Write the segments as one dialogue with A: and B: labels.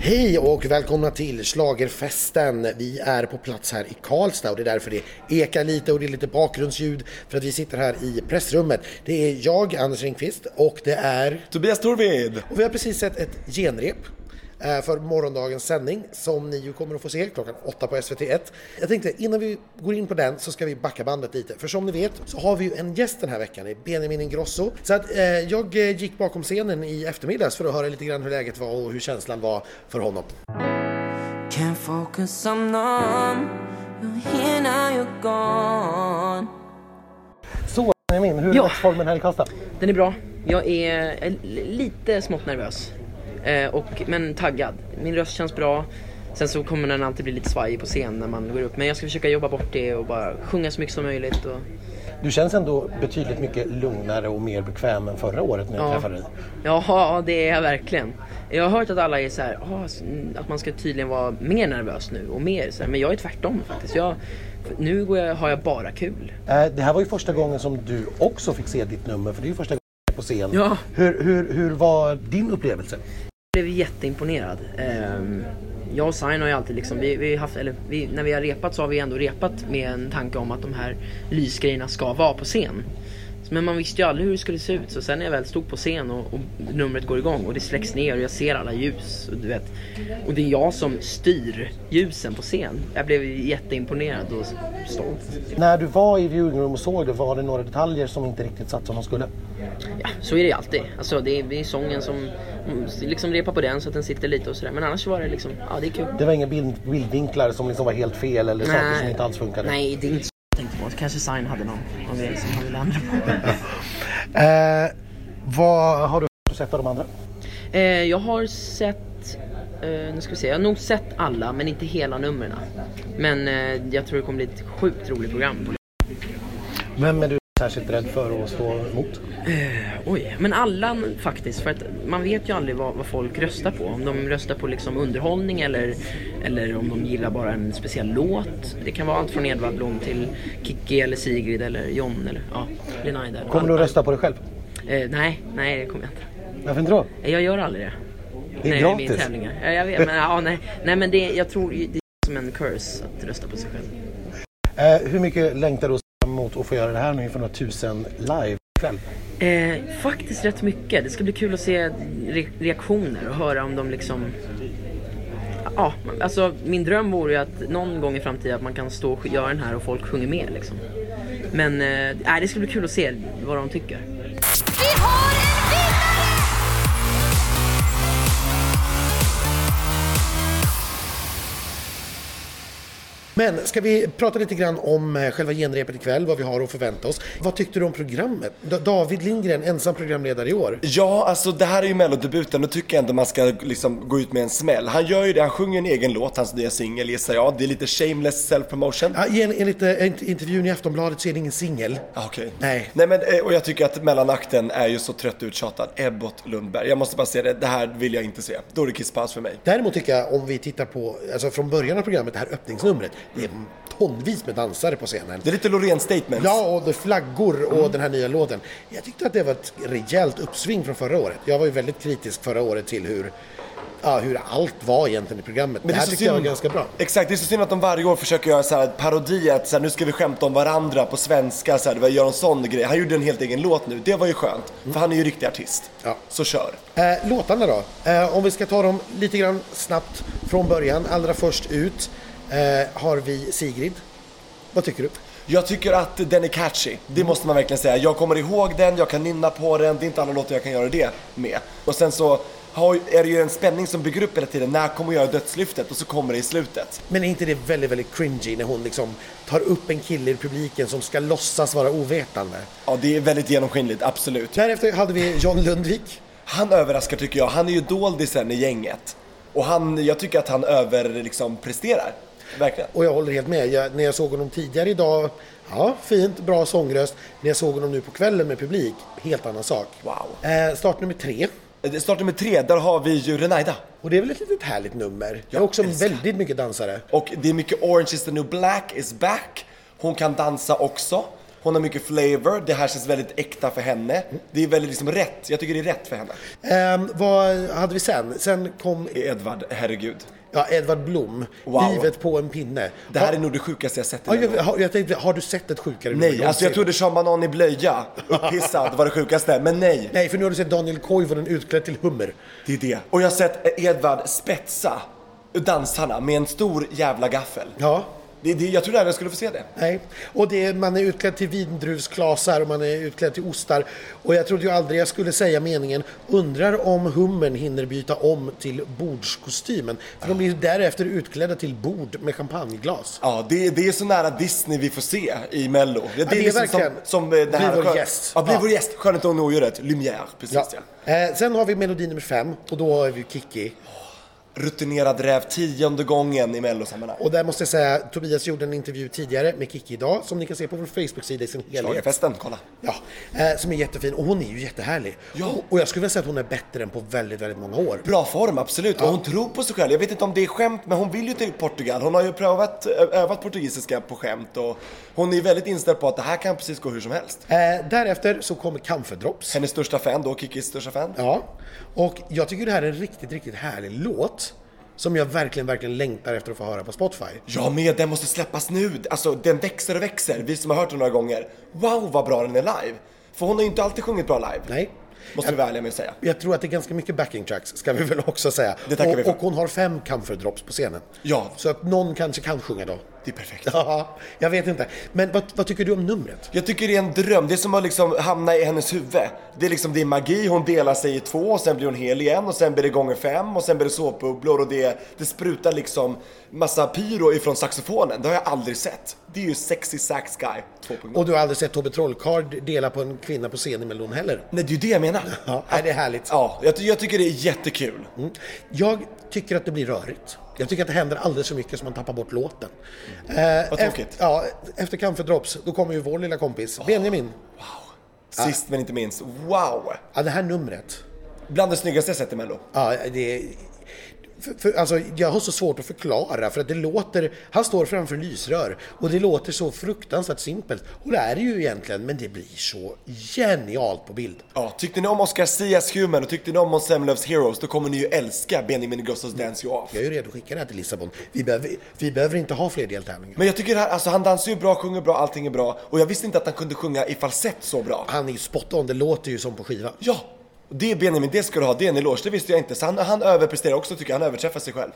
A: Hej och välkomna till Slagerfesten. Vi är på plats här i Karlstad och det är därför det ekar lite och det är lite bakgrundsljud för att vi sitter här i pressrummet. Det är jag, Anders Ringqvist och det är...
B: Tobias Torvid!
A: Och vi har precis sett ett genrep eh, för morgondagens sändning som ni ju kommer att få se klockan åtta på SVT1. Jag tänkte innan vi går in på den så ska vi backa bandet lite för som ni vet så har vi ju en gäst den här veckan, det är Benjamin Ingrosso. Så att eh, jag eh, gick bakom scenen i eftermiddags för att höra lite grann hur läget var och hur känslan var för honom.
C: Can't focus, I'm numb. You're here now, you're gone.
A: Så Benjamin, hur är
D: Ja.
A: dagsformen här i Karlstad?
D: Den är bra. Jag är eh, lite smått nervös. Eh, och, men taggad. Min röst känns bra. Sen så kommer den alltid bli lite svajig på scen när man går upp. Men jag ska försöka jobba bort det och bara sjunga så mycket som möjligt. Och,
A: Du känns ändå betydligt mycket lugnare och mer bekväm än förra året när jag träffade dig.
D: Jaha, ja, det är jag verkligen. Jag har hört att alla är så här, "Ah, s- att man ska tydligen vara mer nervös nu och mer så här. Men jag är tvärtom faktiskt. Jag, nu går jag, har jag bara kul.
A: Eh, Det här var ju första gången som du också fick se ditt nummer för det är ju första gången du är på scen.
D: Ja.
A: Hur, hur, hur var din upplevelse?
D: Jag blev jätteimponerad. Ehm, jag och Sain har ju alltid liksom, vi, vi har haft, eller vi, när vi har repat så har vi ändå repat med en tanke om att de här lysgrejerna ska vara på scen. Så- Men man visste ju aldrig hur det skulle se ut så sen när jag väl stod på scen och, och numret går igång och det släcks ner och jag ser alla ljus och du vet. Och det är jag som styr ljusen på scen. Jag blev jätteimponerad och stolt.
A: När du var i viewing room och såg det, var det några detaljer som inte riktigt satt som de skulle?
D: Ja, så är det ju alltid. Alltså det är, det är sången som, liksom repa på den så att den sitter lite och sådär. Men annars var det liksom, ja det är kul.
A: Det var inga bild, bildvinklar som liksom var helt fel eller saker som inte alls funkade?
D: Nej, det är inte så jag tänkte på. Kanske Sign hade någon, någon grej som han ville ändra på.
A: Eh, vad har du f- sett av de andra?
D: eh, jag har sett, eh, nu ska vi se, jag har nog sett alla men inte hela numren. Men eh, jag tror det kommer bli ett sjukt roligt program.
A: Vem är du särskilt rädd för att stå emot?
D: Oj, men alla faktiskt. För att man vet ju aldrig vad, vad folk röstar på. Om de röstar på liksom underhållning eller, eller om de gillar bara en speciell låt. Det kan vara allt från Edvard Blom till Kikki eller Sigrid eller John eller ja, Lenaida.
A: Kommer du att
D: Allt-
A: rösta på dig själv?
D: eh, Nej, nej det kommer jag inte.
A: Varför inte då?
D: Nej, Jag gör aldrig det.
A: Det är
D: Nej,
A: gratis.
D: min tävlingar. Ja, jag vet, men, ja, nej. nej men det, jag tror ju- det är som en curse att rösta på sig själv.
A: Eh, hur mycket längtar du fram emot att få göra det här nu inför några tusen live ikväll?
D: Eh, faktiskt rätt mycket. Det ska bli kul att se re- reaktioner och höra om de liksom... Ja, alltså min dröm vore ju att någon gång i framtiden att man kan stå och göra den här och folk sjunger med liksom. Men eh, nej, det ska bli kul att se vad de tycker.
E: Vi har en vinnare!
A: Men ska vi prata lite grann om eh, själva genrepet ikväll, vad vi har att förvänta oss. Vad tyckte du om programmet? Da- David Lindgren, ensam programledare i år.
B: Ja, alltså det här är ju mellodebuten, då tycker jag ändå man ska liksom gå ut med en smäll. Han gör ju det, han sjunger en egen låt, hans nya singel gissar jag. Det är lite shameless self-promotion.
A: Ja, i en- Enligt eh, int- intervjun i Aftonbladet så är det ingen singel.
B: Ah, Okej.
A: Nej.
B: Nej men, eh, och jag tycker att mellanakten är ju så trött och uttjatad. Ebbot Lundberg. Jag måste bara säga det, det här vill jag inte se. Då är det kisspaus för mig.
A: Däremot tycker jag om vi tittar på, alltså från början av programmet, det här öppningsnumret. Det är tonvis med dansare på scenen.
B: Det är lite Loreen statements.
A: Ja, och det är flaggor och den här nya låten. Jag tyckte att det var ett rejält uppsving från förra året. Jag var ju väldigt kritisk förra året till hur, ja, hur allt var egentligen i programmet. Men det här
B: så
A: tyckte jag var ganska bra.
B: Exakt, det är så synd att de varje år försöker göra så här parodier, att så här, nu ska vi skämta om varandra på svenska, så här, vi gör en sån grej. Han gjorde en helt egen låt nu, det var ju skönt. För han är ju riktig artist.
A: Ja.
B: Så kör.
A: Eh, låtarna då? Eh, om vi ska ta dem lite grann snabbt från början. Allra först ut eh, har vi Sigrid. Vad tycker du?
B: Jag tycker att den är catchy, det måste man verkligen säga. Jag kommer ihåg den, jag kan nynna på den, det är inte alla låtar jag kan göra det med. Och sen så har, ju- är det ju en spänning som bygger upp hela tiden, när kommer jag göra dödslyftet? Och så kommer det i slutet.
A: Men är inte det väldigt, väldigt cringy när hon liksom tar upp en kille i publiken som ska låtsas vara ovetande?
B: Ja, det är väldigt genomskinligt, absolut.
A: Därefter hade vi John Lundvik.
B: Han överraskar tycker jag. Han är ju doldisen i gänget. Och han, jag tycker att han över, liksom, presterar. Verkligen.
A: Och jag håller helt med. Jag, när jag såg honom tidigare idag, ja, fint, bra sångröst. När jag såg honom nu på kvällen med publik, helt annan sak.
B: Wow.
A: Eh, start nummer tre.
B: Det Start nummer tre, där har vi ju Renaida.
A: Och det är väl ett litet härligt nummer. Jag
B: Jag
A: är också
B: älskar.
A: väldigt mycket dansare.
B: Och det är mycket Orange is the new black is back. Hon kan dansa också. Hon har mycket flavor, det här känns väldigt äkta för henne. Det är väldigt liksom rätt, jag tycker det är rätt för henne.
A: Ehm, vad hade vi sen? Sen kom
B: Edvard, herregud.
A: ja, Edvard Blom,
B: Wow.
A: Livet på en pinne.
B: Det här är nog det sjukaste jag sett i
A: Ja,
B: den
A: jag,
B: här
A: har- jag tänkte, har du sett ett sjukare liv
B: Nej,
A: någonsin?
B: alltså jag trodde Sean Banan i blöja, upphissad, var det sjukaste. Men nej,
A: Nej, för nu har du sett Daniel Koivunen utklädd till hummer.
B: det är det. Och jag har sett Edvard spetsa dansarna med en stor jävla gaffel.
A: Ja.
B: Det, det, jag trodde aldrig jag skulle få se det.
A: Nej. Och det, man är utklädd till vindruvsklasar och man är utklädd till ostar. Och jag trodde ju aldrig jag skulle säga meningen undrar om hummern hinner byta om till bordskostymen. För de blir därefter utklädda till bord med champagneglas.
B: Ja, det, det är så nära Disney vi får se i Mello. Det,
A: det är
B: som-
A: verkligen.
B: Som, som eh, det
A: Bli
B: här
A: vår
B: skön-
A: gäst.
B: Ja, bli
A: Ja.
B: vår gäst. Skönheten och odjuret. Lumière, precis ja.
A: Eh, sen har vi melodi nummer fem och då har vi Kiki.
B: Rutinerad räv, tionde gången i Mellosammanhang.
A: Och där måste jag säga, Tobias gjorde en intervju tidigare med Kiki idag som ni kan se på vår Facebook-sida i sin helhet.
B: Schlagerfesten, kolla.
A: Ja, eh, som är jättefin och hon är ju jättehärlig.
B: Ja.
A: Och, och jag skulle vilja säga att hon är bättre än på väldigt, väldigt många år.
B: Bra form, absolut. Och hon tror på sig själv. Jag vet inte om det är skämt, men hon vill ju till Portugal. Hon har ju prövat, ö- övat portugisiska på skämt och hon är väldigt inställd på att det här kan precis gå hur som helst.
A: Eh, därefter så kommer Camphordrops.
B: Hennes största fan då, Kikis största fan.
A: Ja, och jag tycker det här är en riktigt, riktigt härlig låt som jag verkligen, verkligen längtar efter att få höra på Spotify.
B: Ja, men den måste släppas nu. Alltså, den växer och växer. Vi som har hört den några gånger. Wow, vad bra den är live. För hon har ju inte alltid sjungit bra live.
A: Nej.
B: Måste vi vara ärliga med att säga.
A: Jag tror att det är ganska mycket backing tracks, ska vi väl också säga.
B: Det tackar
A: och,
B: vi för.
A: och hon har fem Camphordrops på scenen.
B: Ja.
A: Så att någon kanske kan sjunga då.
B: Det är perfekt.
A: Ja, jag vet inte. Men vad, vad tycker du om numret?
B: Jag tycker det är en dröm, det är som att liksom hamna i hennes huvud. Det är liksom, det är magi, hon delar sig i två, och sen blir hon hel igen och sen blir det gånger fem och sen blir det såpbubblor och det, det sprutar liksom massa pyro ifrån saxofonen. Det har jag aldrig sett. Det är ju Sexy Sax Guy 2.0.
A: Och du har aldrig sett Tobbe Trollkarl dela på en kvinna på scen i Melon heller?
B: Nej, det är ju det jag menar.
A: Ja, nej, det är härligt.
B: Ja, jag, ty- jag tycker det är jättekul.
A: Jag tycker att det blir rörigt. Jag tycker att det händer alldeles för mycket som man tappar bort låten. Eh,
B: Mm. Vad tråkigt. Ah.
A: Efter, ja, efter Camphor Drops, då kommer ju vår lilla kompis Benjamin.
B: Sist men inte minst, wow!
A: Ja, det här numret.
B: Bland det snyggaste jag sett i Mello.
A: Ja, det är... För, för, alltså, jag har så svårt att förklara för att det låter... Han står framför lysrör och det låter så fruktansvärt simpelt. Och det är det ju egentligen, men det blir så genialt på bild.
B: Ja, tyckte ni om Oscar Sias Human och tyckte ni om Måns Zelmerlöws Heroes, då kommer ni ju älska Benjamin Gustafs Dance You Off.
A: Jag är ju redo att skicka det här till Lissabon. Vi behöver, vi behöver inte ha fler deltävlingar.
B: Men jag tycker det här, alltså han dansar ju bra, sjunger bra, allting är bra och jag visste inte att han kunde sjunga i falsett så bra.
A: Han är ju spot on, det låter ju som på skiva.
B: Ja! Det är Benjamin, det ska du ha, det är en eloge, det visste jag inte. Så han, han överpresterar också tycker jag, han överträffar sig själv.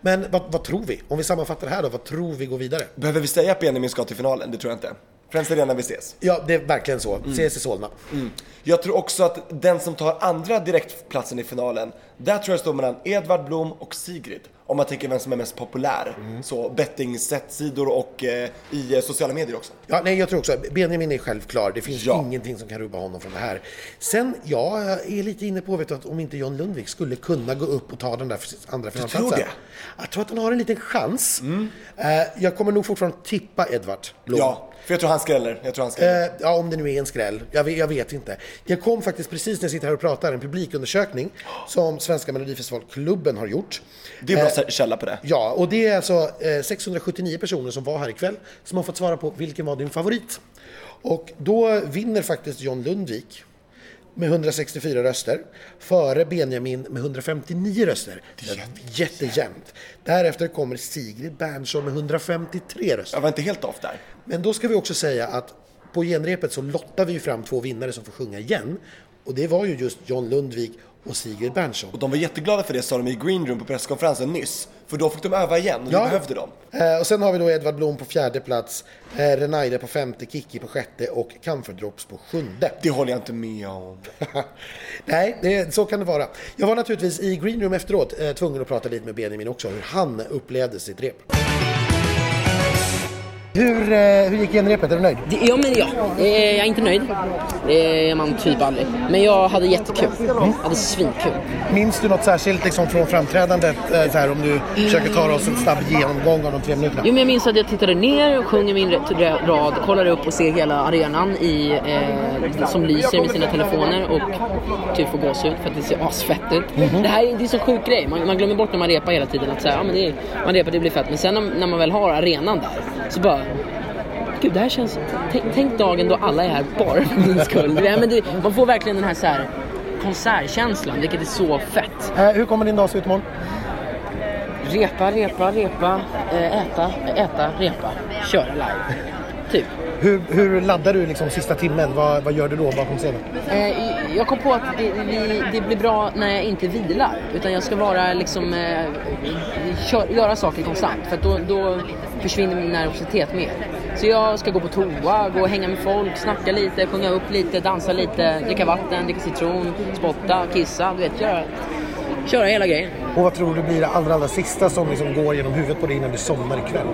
A: Men vad, vad tror vi? Om vi sammanfattar det här då, vad tror vi går vidare?
B: Behöver vi säga att Benjamin ska till finalen? Det tror jag inte. Friends Arena, vi ses.
A: Ja, det är verkligen så.
B: Mm.
A: Ses i Solna.
B: Jag tror också att den som tar andra direktplatsen i finalen, där tror jag det står mellan Edvard Blom och Sigrid. Om man tänker vem som är mest populär.
A: Mm.
B: Så betting-sidor och eh, i eh, sociala medier också.
A: Ja, nej, jag tror också Benjamin är självklar. Det finns
B: Ja.
A: ingenting som kan rubba honom från det här. Sen, ja, jag är lite inne på vet du, att om inte John Lundvik skulle kunna gå upp och ta den där andra finalplatsen.
B: tror det? Mm.
A: Jag tror att han har en liten chans. Eh, jag kommer nog fortfarande tippa Edvard Blom.
B: Ja, för jag tror han skräller. Jag tror han skräller.
A: Eh, Ja, om det nu är en skräll. Jag vet, jag vet inte. Det kom faktiskt precis när jag sitter här och pratar, en publikundersökning som Svenska Melodifestivalklubben har gjort.
B: det
A: eh,
B: är en bra källa på det.
A: Ja, och det är alltså eh, 679 personer som var här ikväll som har fått svara på vilken var din favorit. Och då vinner faktiskt John Lundvik med 164 röster före Benjamin med 159 röster. Det är jättejämnt. Därefter kommer Sigrid Bernson med 153 röster.
B: Jag var inte helt off där.
A: Men då ska vi också säga att på genrepet så lottar vi ju fram två vinnare som får sjunga igen. Och det var ju just John Lundvik och Sigrid Bernson.
B: Och de var jätteglada för det sa de i Green Room på presskonferensen nyss. För då fick de öva igen och det behövde de.
A: Eh, och sen har vi då Edvard Blom på fjärde plats, eh, Renaide på femte, Kiki på sjätte och Camphordrops på sjunde.
B: Det håller jag inte med om.
A: Nej, det, så kan det vara. Jag var naturligtvis i Green Room efteråt eh, tvungen att prata lite med Benjamin också, hur han upplevde sitt rep. Hur, eh, hur gick genrepet? Är du nöjd?
D: Det- Ja, men ja. Eh, Jag är inte nöjd. Det är man typ aldrig. Men jag hade jättekul.
A: Mm.
D: Jag hade svinkul.
A: Minns du något särskilt liksom, från framträdandet? Eh, så här, om du försöker ta oss en snabb genomgång av de tre minuterna.
D: Jo, men jag minns att jag tittade ner och sjöng i min rätt- rad, kollade upp och ser hela arenan i, eh, som lyser med sina telefoner och typ får gåshud för att det ser asfett ut. Det här är, det är så sjuk grej. Man, man glömmer bort när man repar hela tiden att så här, ja, men det, är- man repar, det blir fett. Men sen när, när man väl har arenan där så bara gud det här känns... Tänk, tänk dagen då alla är här bara för min skull. Ja, men det, man får verkligen den här, så här konsertkänslan, vilket är så fett.
A: Eh, hur kommer din dag se ut imorgon?
D: Repa, repa, repa, eh, äta, äta, repa, köra live. Typ.
A: Hur, hur laddar du liksom sista timmen? Vad, vad gör du då bakom scenen?
D: Eh, jag kom på att det, vi, det blir bra när jag inte vilar. Utan jag ska vara liksom, eh, kör, göra saker konstant. För att då, då försvinner min nervositet mer. Så jag ska gå på toa, gå och hänga med folk, snacka lite, sjunga upp lite, dansa lite, dricka vatten, dricka citron, spotta, kissa. Du vet, göra, köra hela grejen.
A: Och vad tror du blir det allra, allra sista som liksom går genom huvudet på dig innan du somnar ikväll?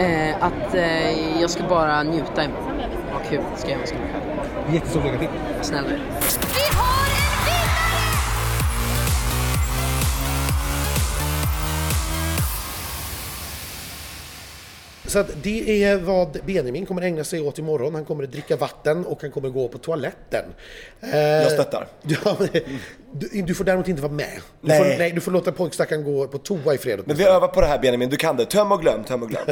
D: Eh, att eh, jag ska bara njuta imorgon. Vad kul ska jag önska mig själv.
A: Jättestort lycka till!
D: Snälla du.
E: Vi har en vinnare!
A: Så att det är vad Benjamin kommer ägna sig åt imorgon. Han kommer att dricka vatten och han kommer att gå på toaletten. Eh,
B: Jag stöttar.
A: Ja, men, du, du får däremot inte vara med. Du,
B: Nej.
A: Får, nej, du får låta pojkstackaren gå på toa i fred.
B: Men vi övar på det här Benjamin, du kan det. Töm och glöm, töm och glöm.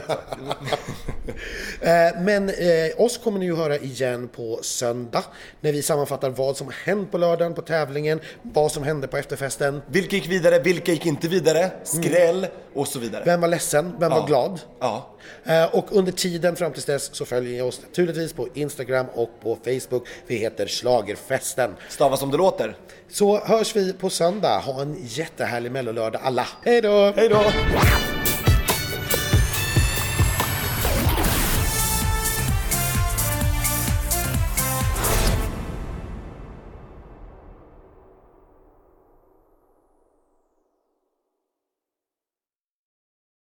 A: Eh, Men eh, oss kommer ni ju höra igen på söndag när vi sammanfattar vad som har hänt på lördagen, på tävlingen, vad som hände på efterfesten.
B: Vilka gick vidare, vilka gick inte vidare? Skräll och så vidare.
A: Vem var ledsen? Vem var
B: Ja.
A: glad?
B: Ja.
A: Eh, Och under tiden fram tills dess så följer ni oss naturligtvis på Instagram och på Facebook. Vi heter Schlagerfesten.
B: Stava som det låter.
A: Så hörs vi på söndag. Ha en jättehärlig mellolördag alla. Hej då!
B: Hej då!